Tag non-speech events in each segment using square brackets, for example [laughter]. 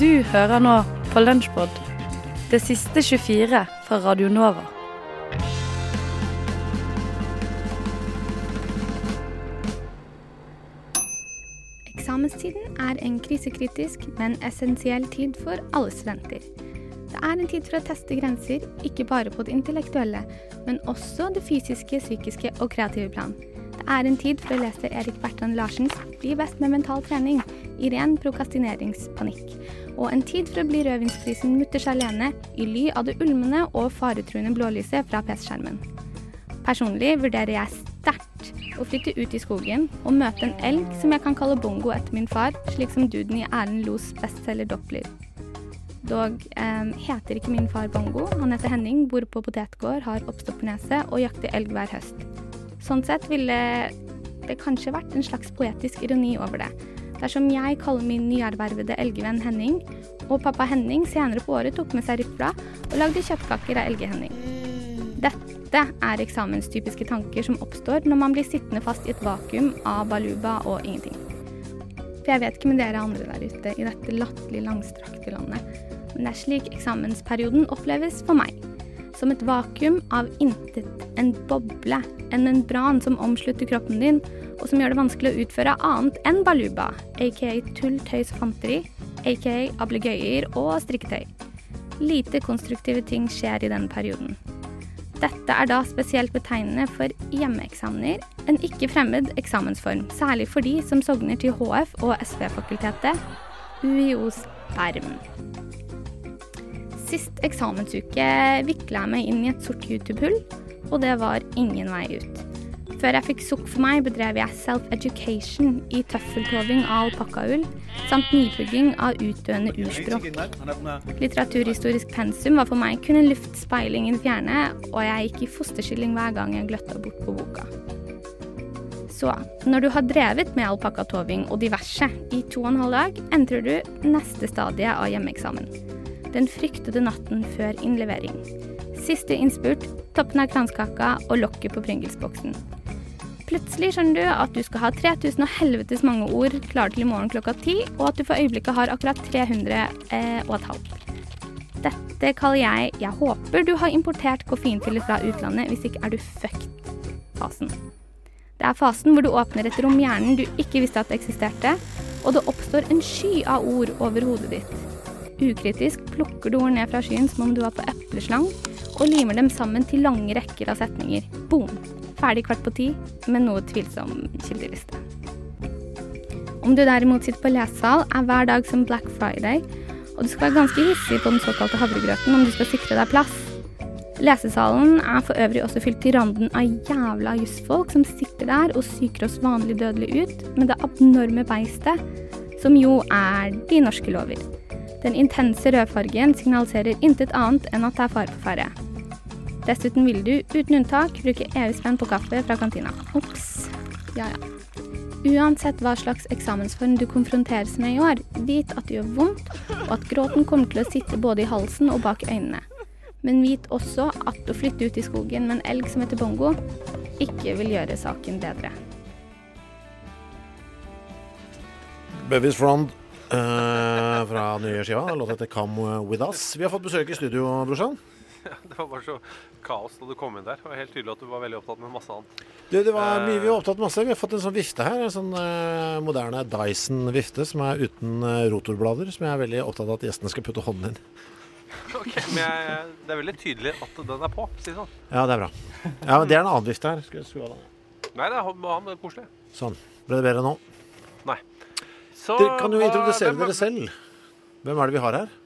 Du hører nå på Lunsjpod, det siste 24 fra Radio Nova. Eksamenstiden er en krisekritisk, men essensiell tid for alle studenter. Det er en tid for å teste grenser, ikke bare på det intellektuelle, men også det fysiske, psykiske og kreative plan. Det er en tid for å lese Erik Bertrand Larsens 'Bli best med mental trening' i ren prokastineringspanikk. Og en tid for å bli rødvinsprisen mutters alene i ly av det ulmende og faretruende blålyset fra PC-skjermen. Personlig vurderer jeg sterkt å flytte ut i skogen og møte en elg som jeg kan kalle Bongo etter min far, slik som duden i Erlend Los bestselger Doppler. Dog eh, heter ikke min far Bongo, han heter Henning, bor på potetgård, har oppstoppernese og jakter elg hver høst. Sånn sett ville det kanskje vært en slags poetisk ironi over det. Dersom jeg kaller min nyervervede elgevenn Henning, og pappa Henning senere på året tok med seg rifla og lagde kjøttkaker av Elge-Henning. Dette er eksamenstypiske tanker som oppstår når man blir sittende fast i et vakuum av baluba og ingenting. For jeg vet ikke med dere andre der ute i dette latterlig langstrakte landet, men det er slik eksamensperioden oppleves for meg. Som et vakuum av intet, en boble, enn en brann som omslutter kroppen din, og som gjør det vanskelig å utføre annet enn baluba, aka tull, tøys og fanteri, aka ablegøyer og strikketøy. Lite konstruktive ting skjer i denne perioden. Dette er da spesielt betegnende for hjemmeeksamener, en ikke fremmed eksamensform, særlig for de som sogner til HF og SV-fakultetet, UiOs perm. Sist eksamensuke vikla jeg meg inn i et sort YouTube-hull, og det var ingen vei ut. Før jeg fikk sukk for meg, bedrev jeg self-education i tøffeltoving av alpakkahull, samt nypugging av utdøende urspråk. Litteraturhistorisk pensum var for meg kun en luftspeiling i det fjerne, og jeg gikk i fosterskilling hver gang jeg gløtta bort på boka. Så når du har drevet med alpakkatoving og diverse i to og en halv dag, entrer du neste stadie av hjemmeeksamen. Den fryktede natten før innlevering. Siste innspurt, toppen av kranskaka og lokket på Pringles-boksen. Plutselig skjønner du at du skal ha 3000 og helvetes mange ord klare til i morgen klokka ti, og at du for øyeblikket har akkurat 300 eh, og et halvt. Dette kaller jeg 'jeg håper du har importert koffeinpiller fra utlandet', hvis ikke er du fucked-fasen. Det er fasen hvor du åpner et rom i hjernen du ikke visste at eksisterte, og det oppstår en sky av ord over hodet ditt. Ukritisk plukker du ord ned fra skyen som om du var på epleslang, og limer dem sammen til lange rekker av setninger. Boom! Ferdig kvart på ti, med noe tvilsom kildeliste. Om du derimot sitter på lesesal, er hver dag som Black Friday, og du skal være ganske hissig på den såkalte havregrøten om du skal sikre deg plass. Lesesalen er for øvrig også fylt til randen av jævla jussfolk som sitter der og psyker oss vanlig dødelige ut med det abnorme beistet, som jo er de norske lover. Den intense rødfargen signaliserer intet annet enn at det er fare på ferde. Dessuten vil du, uten unntak, bruke EU-spenn på kaffe fra kantina. Ops. Ja, ja. Uansett hva slags eksamensform du konfronteres med i år, vit at det gjør vondt, og at gråten kommer til å sitte både i halsen og bak øynene. Men vit også at å flytte ut i skogen med en elg som heter Bongo, ikke vil gjøre saken bedre. Bubbies Frond eh, fra nye skiva. Låta heter 'Come With Us'. Vi har fått besøk i studio, brorsan. Det var bare så kaos da du kom inn der. Det var helt tydelig at du var veldig opptatt med masse annet. Du, det var mye vi var opptatt masse. Vi har fått en sånn vifte her. En sånn eh, moderne Dyson-vifte som er uten eh, rotorblader. Som jeg er veldig opptatt av at gjestene skal putte hånden inn. Ok, Men jeg, det er veldig tydelig at den er på. Si det sånn. Ja, det er bra. Ja, men Det er en annen vifte her. Skal jeg skru av den? Nei, det er han, han er koselig. Sånn. Ble det bedre nå? Nei. Så, Dere kan jo hva- introdusere hvem er- dere selv. Hvem er det vi har her?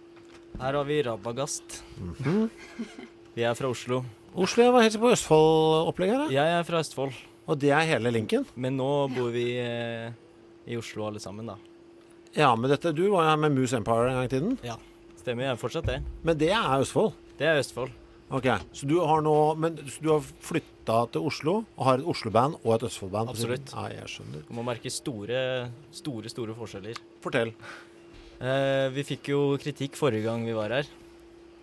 Her har vi Rabagast. Mhm. [laughs] Vi er fra Oslo. Oslo. Jeg var helt på Østfold-opplegget her. jeg. Jeg er fra Østfold, Og det er hele linken. men nå bor vi eh, i Oslo alle sammen, da. Ja, men dette, Du var jo her med Moose Empire en gang i tiden. Stemmer, jeg er fortsatt det. Men det er Østfold. Det er Østfold. Ok, Så du har nå Men så du har flytta til Oslo og har et Oslo-band og et Østfold-band? på siden? Absolutt. Ja, jeg skjønner. Du må merke store, store, store forskjeller. Fortell. Eh, vi fikk jo kritikk forrige gang vi var her,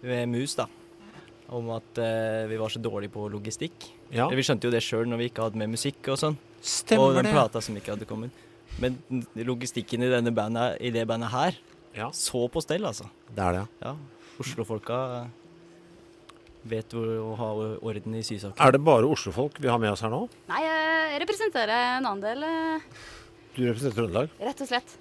ved Mus, da, om at eh, vi var så dårlige på logistikk. Ja, Eller, vi skjønte jo det sjøl når vi ikke hadde med musikk og sånn, og stemmer den det. plata som ikke hadde kommet. Men logistikken i, denne bandet, i det bandet her Ja. Så på stell, altså. Det er det, ja. Ja. Oslofolka vet hvor å ha orden i sysaker. Er det bare Oslo-folk vi har med oss her nå? Nei, jeg representerer en annen del, eh, Du representerer Trøndelag. rett og slett.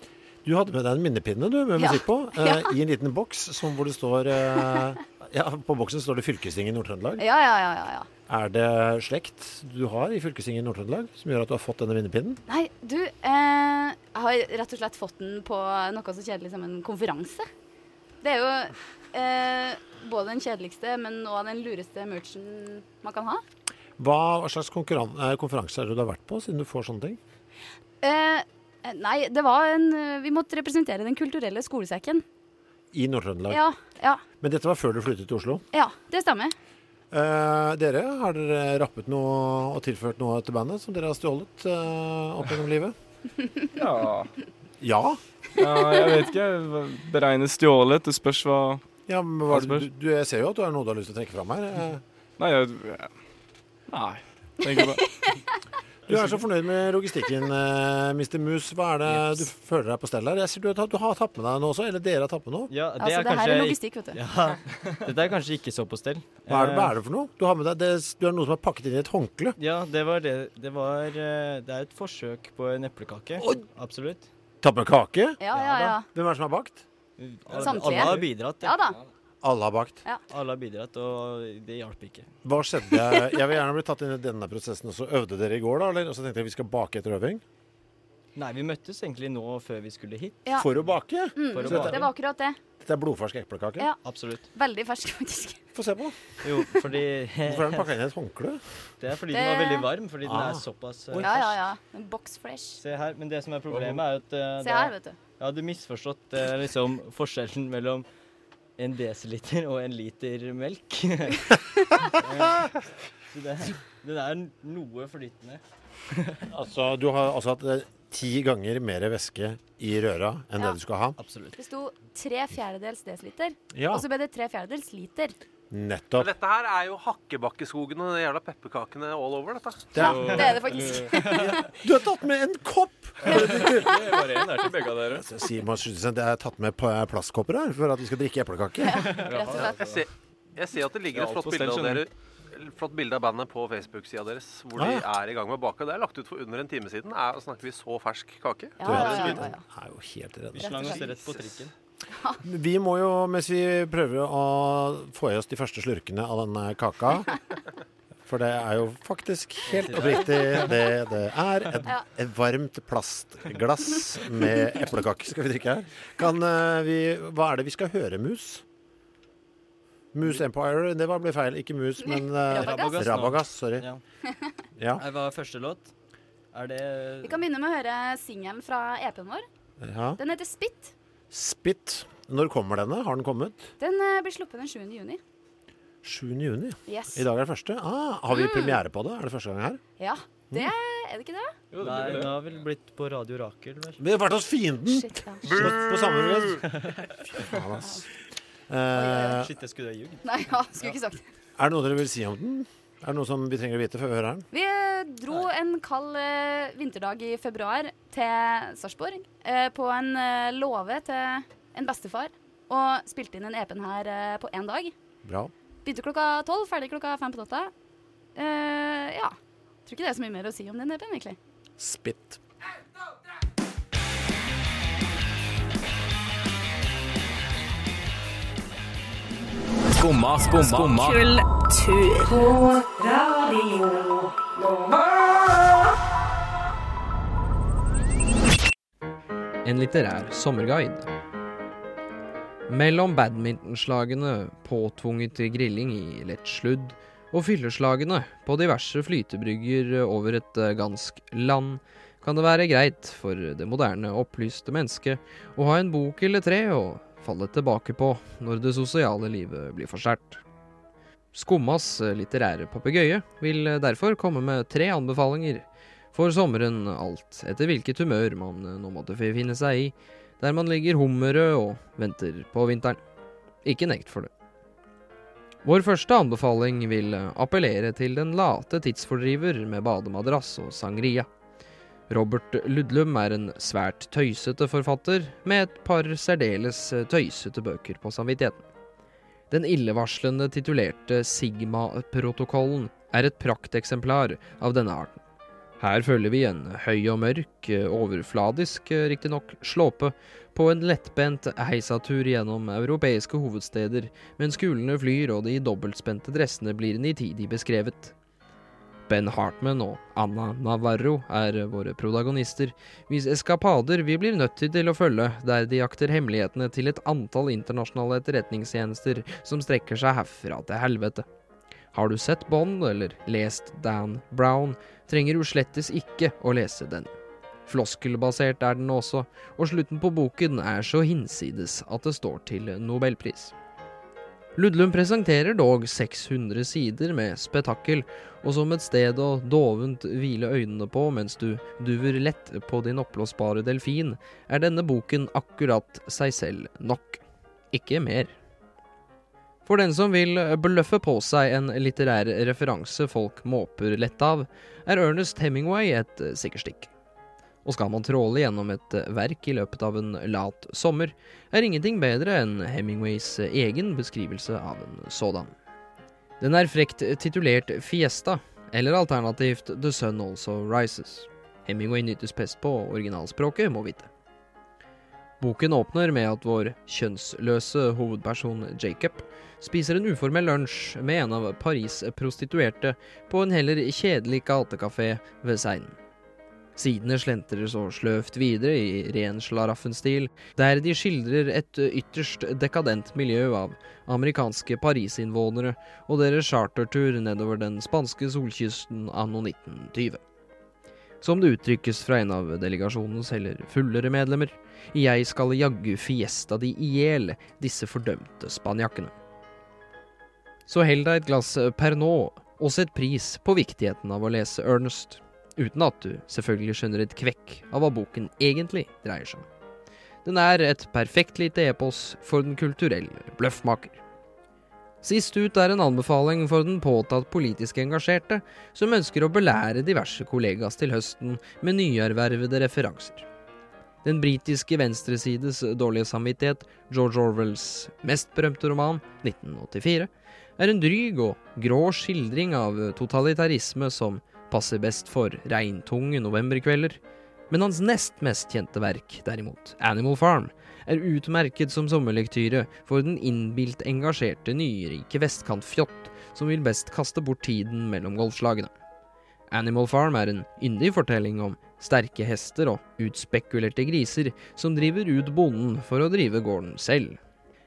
Du hadde med deg en minnepinne du, med Ja. musikk på, eh, i en liten boks som hvor det står eh, ja, På boksen står det fylkestinget i Nord-Trøndelag. Ja, ja, ja, ja. ja. Er det slekt du har i fylkestinget i Nord-Trøndelag som gjør at du har fått denne minnepinnen? Nei, du, eh, jeg har rett og slett fått den på noe så kjedelig som en konferanse. Det er jo eh, både den kjedeligste, men også den lureste merchen man kan ha. Hva slags konkurran- eh, konferanse er det du har vært på, siden du får sånne ting? Eh, nei, det var en eh, Vi måtte representere Den kulturelle skolesekken. I Nord-Trøndelag. Ja, ja, Men dette var før du flyttet til Oslo. ja. Det stemmer. Eh, dere, har dere rappet noe og tilført noe til bandet som dere har stjålet eh, opp gjennom livet? Ja. Ja. ja, jeg vet ikke. Beregne stjålet. Det spørs hva ja men hva, er det Hva du, spørs? du, jeg ser jo at du har noe du har lyst til å trekke fram her. Eh, Nei, jeg Nei. Tenker på Du er så fornøyd med logistikken, eh, Mr. Mus. Hva er det du føler deg på stell her? Jeg ser du, har tatt- du har tatt med deg noe også, eller dere har tatt med noe. Ja, det er Altså, det her er kanskje logistikk, vet du. ja, [laughs] Dette er kanskje ikke så på stell. Eh, Hva er det, hva er det for noe? Du har med deg det, du har noe som er pakket inn i et håndkle. Ja, det var det. Det var eh, Det er et forsøk på en eplekake. Absolutt. Tatt med kake? Ja, ja, ja. Hvem er det som har bakt? Alle, Samtlige. alle har bidratt. Ja da. Alle har bakt. Alle har bidratt, og det hjalp ikke. Hva skjedde? Jeg vil gjerne bli tatt inn i denne prosessen også. Øvde dere i går, da? Eller? Og så tenkte jeg vi skal bake etter øving. Nei, vi møttes egentlig nå før vi skulle hit. Ja. For å bake? For å Så dette- Det bake. Mm, var akkurat det. Dette er blodfersk eplekake. Ja. Absolutt. Veldig fersk, faktisk. Få se på. Jo, fordi [laughs] Hvorfor er den pakket inn i et håndkle? Det er fordi den var Det- veldig varm, fordi den Ah. er såpass eh, Ja, ja, ja. En box fresh. Se her, men det som er problemet er at eh, Se her, vet du. jeg hadde misforstått eh, liksom forskjellen mellom en desiliter og en liter melk. [laughs] Eh, Så det, den er noe flytende. Altså, du har altså hatt eh, ti ganger mer væske i røra enn Ja. det du skal ha. Absolutt. Det sto tre fjerdedels desiliter, Ja, og så ble det tre fjerdedels liter. Men nettopp. dette her er jo hakkebakkeskogen og de jævla pepperkakene all over, dette. Ja, det er det faktisk. Du har tatt med en [laughs] kopp! Altså, Det var en der til begge av dere. Simon synes at jeg har tatt med pa- plastkopper her for at vi skal drikke eplekake. [laughs] Rett og slett. Jeg ser, jeg ser at det ligger et Det er alt flott på bilde av stell, dere Flott bilde av bandet på Facebook-sida deres, hvor Ah, de er i gang med å bake. Det er lagt ut for under en time siden. Er, snakker vi så fersk kake? Ja, Du, ja, ja, den ja, er ja. jo helt Vi redd. slang oss slett. rett på trikken. Vi må jo, mens vi prøver å få i oss de første slurkene av denne kaka For det er jo faktisk helt oppriktig det det er. Et, et varmt plastglass med eplekake skal vi drikke her. Kan eh, vi Hva er det vi skal høre, Mus? Moose Empire, det var ble feil. Ikke mus, men eh, Rabagass. Rabagass. Sorry. Ja. Ja. Nei, Hva er første låt? Er det Vi kan begynne med å høre singelen fra EP-en vår. ja. Den heter Spit. Spit. Når kommer denne? Har den kommet? Den eh, blir sluppet den 7. juni. 7. juni. Yes. I dag er det første. Ah, har vi premiere på det? Er det første gang her? Ja, det er det ikke det? Jo, det Nei, blir den det. har vel blitt på Radio Rakel, vel? Vi har vært hos fienden! Shit, ja. Slått på samme plass. [laughs] Fy faen, ass. Eh, Shit, jeg skulle ha ljugd. Nei, ja, skulle ikke sagt det. er det noe dere vil si om den? Er det noe som vi trenger å vite før vi hører den? Vi eh, dro en kald eh, vinterdag i februar til Sarpsborg eh, på en eh, låve til en bestefar og spilte inn en EP-en her eh, på én dag. Bra. Begynte klokka tolv, ferdig klokka fem på natta. Eh, ja. Tror ikke det er så mye mer å si om den EP-en, egentlig. Spit. Skumma, skumma, en litterær sommerguide. Mellom badmintonslagene påtvunget til grilling i lett sludd, og fylleslagene på diverse flytebrygger over et eh, gansk land, kan det være greit for det moderne, opplyste mennesket å ha en bok eller tre å falle tilbake på når det sosiale livet blir for sterkt. Skummas litterære papegøye vil eh, derfor komme med tre anbefalinger for sommeren alt etter hvilket humør man eh, nå måtte finne seg i, der man ligger hummerød og venter på vinteren. Ikke nekt for det. Vår første anbefaling vil eh, appellere til den late tidsfordriver med bademadrass og sangria. Robert Ludlum er en svært tøysete forfatter, med et par særdeles eh, tøysete bøker på samvittigheten. Den illevarslende titulerte Sigma-protokollen er et prakteksemplar av denne arten. Her følger vi en høy og mørk, overfladisk riktignok, slåpe på en lettbent heisatur gjennom europeiske hovedsteder mens kulene flyr og de dobbeltspente dressene blir nitidig beskrevet. Ben Hartman og Anna Navarro er våre protagonister, hvis eskapader vi blir nødt til å følge der de jakter hemmelighetene til et antall internasjonale etterretningstjenester som strekker seg herfra til helvete. Har du sett Bond eller lest Dan Brown, trenger du slettes ikke å lese den. Floskelbasert er den også, og slutten på boken er så hinsides at det står til nobelpris. Ludlum presenterer dog 600 sider med spetakkel, og som et sted å dovent hvile øynene på mens du duver lett på din oppblåsbare delfin, er denne boken akkurat seg selv nok. Ikke mer. For den som vil bløffe på seg en litterær referanse folk måper lett av, er Ernest Hemingway et sikkerstikk. Og skal man tråle gjennom et eh, verk i løpet av en lat sommer, er ingenting bedre enn Hemingways eh, egen beskrivelse av en sådan. Den er frekt titulert Fiesta, eller alternativt The Sun Also Rises. Hemingway nytes best på originalspråket, må vite. Boken åpner med at vår kjønnsløse hovedperson Jacob spiser en uformell lunsj med en av Paris' prostituerte på en heller kjedelig gatekafé ved Seinen. Sidene slentrer så sløvt videre i ren slaraffenstil, der de skildrer et ytterst dekadent miljø av amerikanske Paris-innvånere og deres chartertur nedover den spanske solkysten anno 1920. Som det uttrykkes fra en av delegasjonens heller fullere medlemmer, jeg skal jaggu fiesta de i hjel, disse fordømte spanjakkene. Så hell deg et glass Pernod, og sett pris på viktigheten av å lese Ernest uten at du selvfølgelig skjønner et kvekk av hva boken egentlig dreier seg om. Den er et perfekt lite epos for den kulturelle bløffmaker. Sist ut er en anbefaling for den påtatt politisk engasjerte, som ønsker å belære diverse kollegas til høsten med nyervervede referanser. Den britiske venstresides dårlige samvittighet, George Orwells mest berømte roman, 1984, er en dryg og grå skildring av totalitarisme som passer best for regntunge novemberkvelder. Men hans nest mest kjente verk, derimot, Animal Farm, er utmerket som sommerlektyre for den innbilt engasjerte nyrike vestkantfjott som vil best kaste bort tiden mellom golfslagene. Animal Farm er en yndig fortelling om sterke hester og utspekulerte griser som driver ut bonden for å drive gården selv.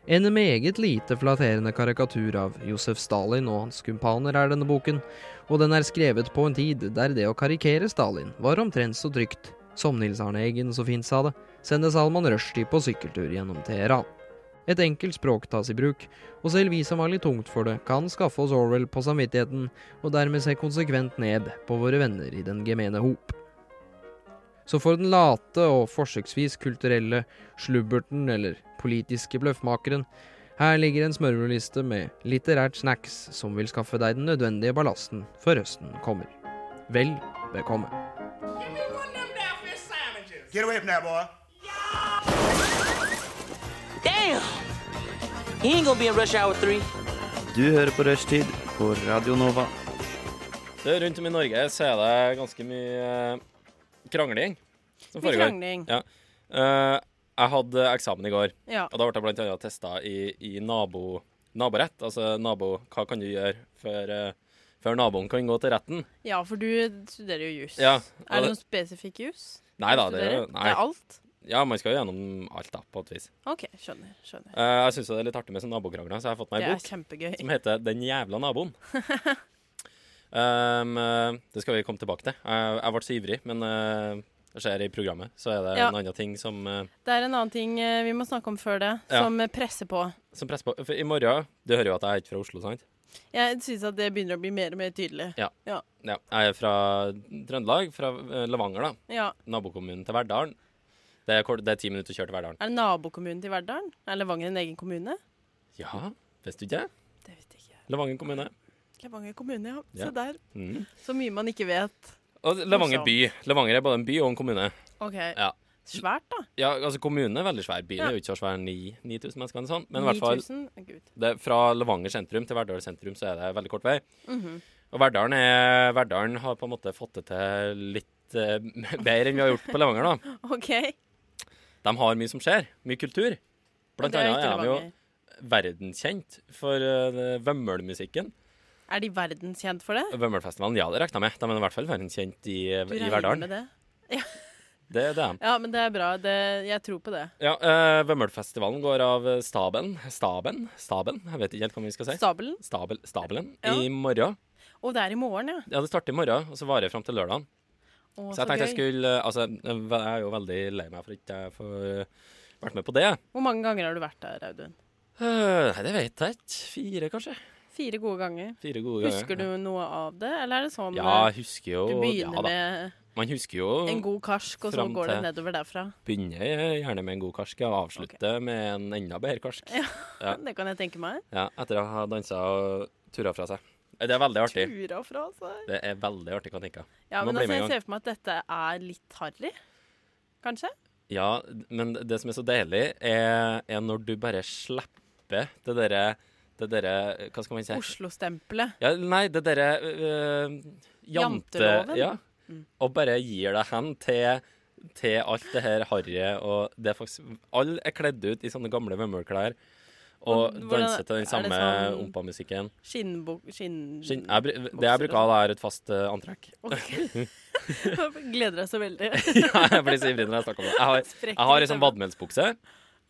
En meget lite flatterende karikatur av Josef Stalin og hans kumpaner er denne boken, og den er skrevet på en tid der det å karikere Stalin var omtrent så trygt som Nils Arne Eggen så fint sa det, sende Salman Rushdie på sykkeltur gjennom Teheran. Et enkelt språk tas i bruk, og selv vi som har litt tungt for det, kan skaffe oss Orwell på samvittigheten, og dermed se konsekvent ned på våre venner i den gemene hop. Så for den late og forsøksvis kulturelle slubberten eller politiske bløffmakeren, her ligger en smørbrødliste med litterært snacks som vil skaffe deg den nødvendige ballasten før høsten kommer. Vel bekomme. Get away from that boy. Damn! He ain't gonna be in rush hour three. Du hører på Rushtid på Radio Nova. Du, rundt om i Norge så er det ganske mye eh, krangling som Mye foregår. krangling. Ja. Eh, jeg hadde eksamen i går, Ja. og da ble jeg blant annet testa i, i nabo, naborett. Altså nabo, hva kan du gjøre før, eh, før naboen kan gå til retten? Ja, for du studerer jo jus. Ja, og er det det- noen spesifikk jus? Nei da, du det er jo studerer? nei. Det er alt? Ja, man skal jo gjennom alt, da, på et vis. OK, skjønner. skjønner. Eh, jeg syns det er litt artig med sånn nabokrangler, så jeg har fått meg Det er en bok kjempegøy. som heter 'Den jævla [laughs] naboen'. Um, eh, det skal vi komme tilbake til. Jeg, jeg ble så ivrig, men eh, det skjer i programmet. Så er det Ja. en annen ting som, eh, Det er en annen ting eh, vi må snakke om før det, Ja. som eh, presser på. som presser på. For i morgen Du hører jo at jeg er ikke fra Oslo, sant? Jeg syns at det begynner å bli mer og mer tydelig. Ja. Ja. Ja, jeg er fra Trøndelag, fra eh, Levanger, da. Ja. Nabokommunen til Verdalen. Det er, kort, det er ti minutter å kjøre til Verdalen. Er det nabokommunen til Verdalen? Er Levanger en egen kommune? Ja, visste du ikke? Det visste ikke Levanger kommune. Levanger kommune, ja. Ja. Se der. Mm. Så mye man ikke vet. Og Levanger by. Levanger er både en by og en kommune. Ok. Ja. Svært, da. Ja, altså Kommunen er veldig svær. Byen er Ja. jo ikke så svær, ni- 9000 mennesker eller sånn. Men i hvert fall, 9000? Gud. det, fra Levanger sentrum til Verdal sentrum så er det veldig kort vei. Mhm. Og Verdalen, er, Verdalen har på en måte fått det til litt eh, bedre enn vi har gjort på Levanger, da. [laughs] OK. De har mye som skjer. Mye kultur. Blant Ja, det er annet ikke er de jo Levanger. verdenskjent for uh, Vømmøl-musikken. Er de verdenskjent for det? Vømmølfestivalen, ja, det regner jeg med. De er i hvert fall verdenskjent i, eh, Du i regner Verdalen. med det? Det er det. de. Ja, men det er bra. Det, jeg tror på det. Ja, uh, Vømmølfestivalen går av eh, staben Staben? Staben? Jeg vet ikke helt hva vi skal si. Stabelen? Stabel, stabelen Ja. i morgen. Og det er i morgen, ja. Ja, det starter i morgen, og så varer det fram til lørdag. Å, Så jeg tenkte jeg skulle eh, Altså, jeg er jo veldig lei meg for ikke jeg får eh, vært med på det. Hvor mange ganger har du vært der, Audun? Eh, Nei, det vet jeg ikke. Fire, kanskje? Fire gode ganger. Fire gode ganger, Husker du noe av det, eller er det sånn Ja, eh, jeg husker jo Du ja, begynner da. med Man husker jo en god karsk, og så fram går det til- nedover derfra? Begynner gjerne med en god karsk og avslutter med en enda bedre karsk. Ja. [laughs] Det kan jeg tenke meg. ja, etter å ha dansa og tura fra seg. Det er veldig artig. Tura fra seg. Det er veldig artig, kan jeg tenke. Ja, Nå men blir altså, vi i jeg gang. ser for meg at dette er litt harry, kanskje? Ja, men det som er så deilig, er, er når du bare slipper det derre det derre Hva skal man si? Oslo-stempelet. Ja, nei, det derre øh, jante, Janteloven? Ja. Mm. Og bare gir deg hen til, til alt det her harryet, og det er faktisk Alle er kledd ut i sånne gamle vømmølklær og Hvordan- danser til er den det samme sånn- Eh, ompa-musikken. Skinnbok... Skinn... Skinn- jeg bru- Det jeg bruker av, det er et fast eh, antrekk. [laughs] Ok. Gleder deg så veldig. ja, jeg blir så ivrig når jeg snakker om det. Jeg har, Sprekker jeg har litt en sånn av- vadmelsbukse.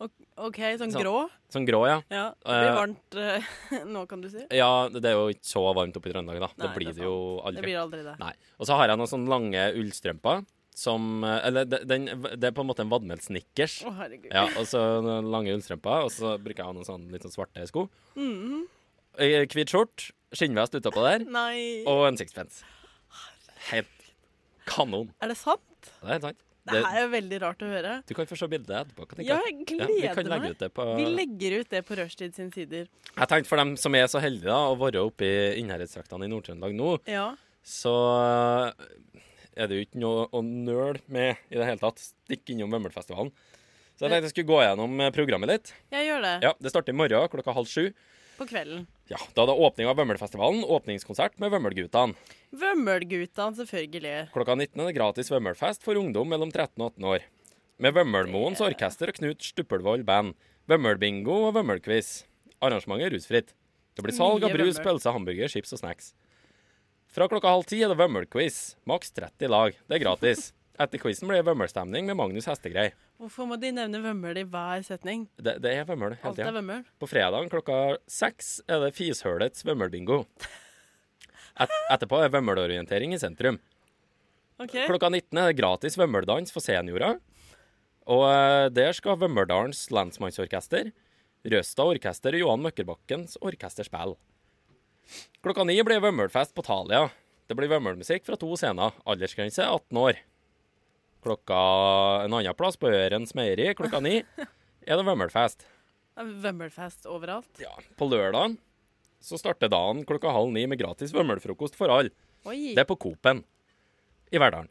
OK, sånn grå? Sånn grå, ja. Ja. Det blir Eh, varmt eh, [laughs] nå, kan du si. ja, det er jo ikke så varmt oppe i Trøndelag, da. Nei, det blir det er det, jo sant. aldri. Det blir aldri det. Nei. Og så har jeg noen sånne lange ullstrømper som eh, Eller de- den, det er på en måte en vadmelsnickers. Å, herregud. ja, og så noen lange ullstrømper, og så bruker jeg å ha noen sånne litt sånn svarte sko. Mhm. Eh, Hvit skjort, skinnvest utapå der, [laughs] Nei. og en sixpence. Helt kanon. Er det sant? Det er helt sant. Det Det- her er jo veldig rart å høre. Du kan få se bildet etterpå. kan tenke Ja, jeg deg. gleder vi kan legge meg. Ut det på, Vi legger ut det på Rushtid sin sider. Jeg tenkte for dem som er så heldige da, å være oppe i innherredsdraktene i Nord-Trøndelag nå, Ja. så eh, er det jo ikke noe å nøle med i det hele tatt. Stikk innom Vømmølfestivalen. Så jeg tenkte jeg skulle gå gjennom eh, programmet litt. Jeg gjør det. Ja, Det starter i morgen klokka halv sju. På kvelden. Ja, Da er det åpning av Vømmølfestivalen. Åpningskonsert med Vømmølgutene. Vømmølguttene, selvfølgelig. Klokka 19 er det gratis Vømmølfest for ungdom mellom 13 og 18 år. Med Vømmølmoens orkester og Knut Stuppelvold band. Vømmølbingo og Vømmølquiz. Arrangementet er rusfritt. Det blir salg av Mye brus, Vømmøl. pølser, hamburger, chips og snacks. Fra klokka halv ti er det Vømmølquiz. Maks 30 lag. Det er gratis. Etter quizen blir det Vømmølstemning med Magnus Hestegrei. Hvorfor må de nevne Vømmøl i hver setning? Det, det er Vømmøl hele Alt er tida. Vømmøl. På fredagen klokka seks er det Fishølets Vømmølbingo. Et, etterpå er Vømmølorientering i sentrum. OK. Klokka 19 er det gratis Vømmøldans for seniorer. Og eh, der skal Vømmøldalens landsmannsorkester, Røsta orkester og Johan Møkkerbakkens orkester spille. Klokka 9 blir Vømmølfest på Thalia. Det blir Vømmølmusikk fra to scener. Aldersgrense 18 år. Klokka en annen plass, på Ørens Meieri, klokka 9 er det Vømmølfest. Det er Vømmølfest overalt. På lørdagen så starter dagen klokka halv ni med gratis vømmølfrokost for alle. Oi. Det er på Coop-en i Verdalen.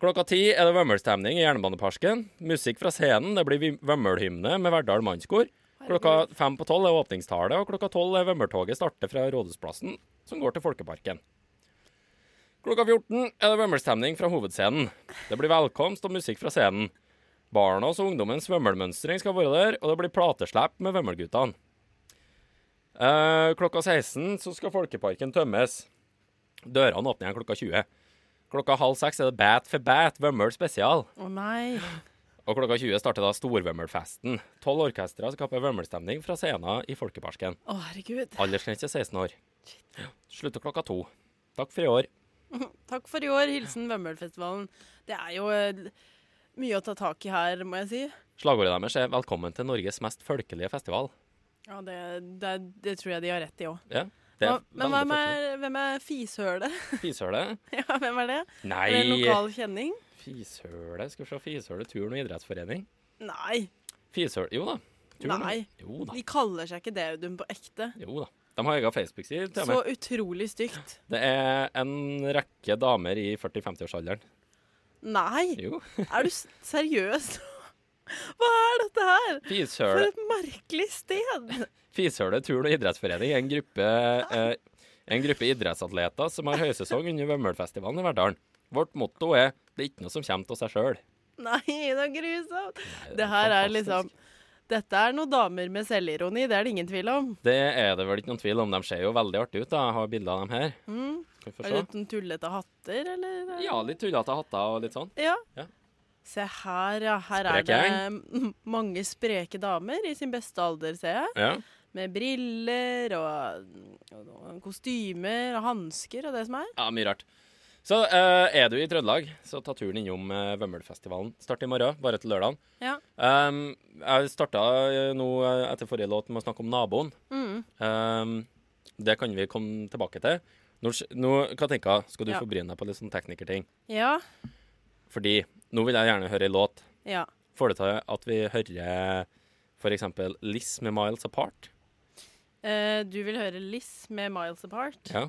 Klokka ti er det vømmølstemning i Jernbaneparken. Musikk fra scenen. Det blir vi- vømmølhymne med Verdal mannskor. Klokka fem på tolv er åpningstale, og klokka tolv er vømmøltoget starter fra Rådhusplassen, som går til Folkeparken. Klokka 14 er det vømmelstemning fra hovedscenen. Det blir velkomst og musikk fra scenen. Barnas og ungdommens vømmelmønstring skal være der, og det blir plateslepp med vømmelguttene. Eh, klokka 16 så skal Folkeparken tømmes. Dørene åpner igjen klokka 20. Klokka halv seks er det Bat for Bat, Vømmøl spesial. Å nei. Og klokka 20 starter da Storvømmølfesten. Tolv orkestre skaper vømmelstemning fra scenen i Folkeparken. Å, herregud. Aldersgrense 16 år. Ja, Slutter klokka to. Takk for i år. Takk for i år. Hilsen Vømmølfestivalen. Det er jo eh, mye å ta tak i her, må jeg si. Slagordet deres er 'Velkommen til Norges mest folkelige festival'. Ja, det, det, det tror jeg de har rett i òg. Ja, det er Men veldig hvem er, Eh, hvem er [laughs] fishøle? folkelig. Fishøle? ja, hvem er det? Nei. Er det en lokal kjenning? Fishøle? Skal vi se Fishøle turn- og idrettsforening. Nei. Fishøle Jo da. Turn- Nei. Jo da. De kaller seg ikke det, Audun, på ekte. Jo da. De har egen Facebook-side. til og Så med. utrolig stygt. Det er en rekke damer i 40-50-årsalderen. Nei! Jo. Er du s- seriøs? Hva er dette her? For Fishølet et merkelig sted! Fishølet turn- og idrettsforening er en gruppe, eh, en gruppe idrettsatleter som har høysesong under Vømmølfestivalen i Verdalen. Vårt motto er 'det er ikke noe som kommer av seg sjøl'. Nei, det er grusomt. Det her er liksom Dette er noen damer med selvironi, det er det ingen tvil om. Det er det vel ikke noen tvil om. De ser jo veldig artige ut. da. Jeg har bilder av dem her. Mm. Skal vi få Er se. det noen tullete hatter, eller? Ja, litt tullete hatter og litt sånn. Ja. Ja. Se her, ja. Her er Sprek det [laughs] gjeng. m- mange spreke damer i sin beste alder, ser jeg. Ja. Med briller og, og kostymer og hansker og det som er. Ja, mye rart. Så eh, er du i Trøndelag, så ta turen innom eh, Vømmølfestivalen. Start i morgen, bare til lørdagen. Ja. Um, jeg starta eh, nå eh, etter forrige låt med å snakke om naboen. Mm. Um, det kan vi komme tilbake til. Nå, sk- nå hva tenker jeg? Skal du Ja. forbryne deg på litt sånn teknikerting? Ja. Fordi nå vil jeg gjerne høre en låt. Ja. Får det til at vi hører f.eks. Liss med 'Miles Apart'? Eh, du vil høre Liss med Miles Apart, Ja.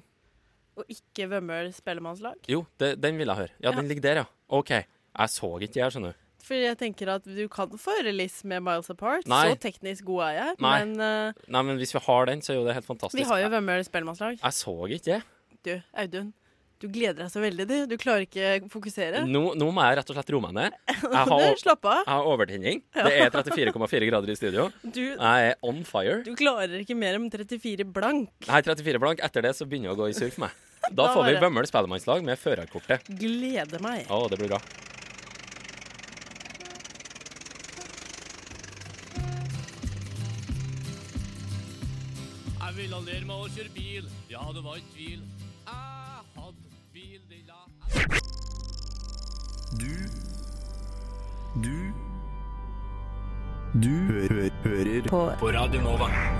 og ikke Vømmøl spellemannslag? Jo, det, den vil jeg høre. Ja, Ja. den ligger der, ja. OK. Jeg så ikke det her, skjønner du. For jeg tenker at du kan få høre Liss med Miles Apart. Nei. Så teknisk god er jeg. Nei. Men eh, Nei, men hvis vi har den, så er jo det helt fantastisk. vi har jo Vømmøl spellemannslag. Jeg så ikke det. Du, Audun. Du gleder deg så veldig, du. Du klarer ikke fokusere. Nå, nå må jeg rett og slett roe meg ned. Jeg Du, slapp av. Jeg har overtenning. Ja. Det er 34,4 grader i studio. Du- Jeg er on fire. Du klarer ikke mer enn 34 blank. Jeg er 34 blank. Etter det så begynner det å gå i surr for meg. Da Da får vi bare- Bømmel spellemannslag med førerkortet. Gleder meg. Å, det blir bra. Jeg ville lære meg å kjøre bil, ja, det var ikke tvil. Jeg hadde bil, den la Du Du Du hø hø hører på. Radio Nova.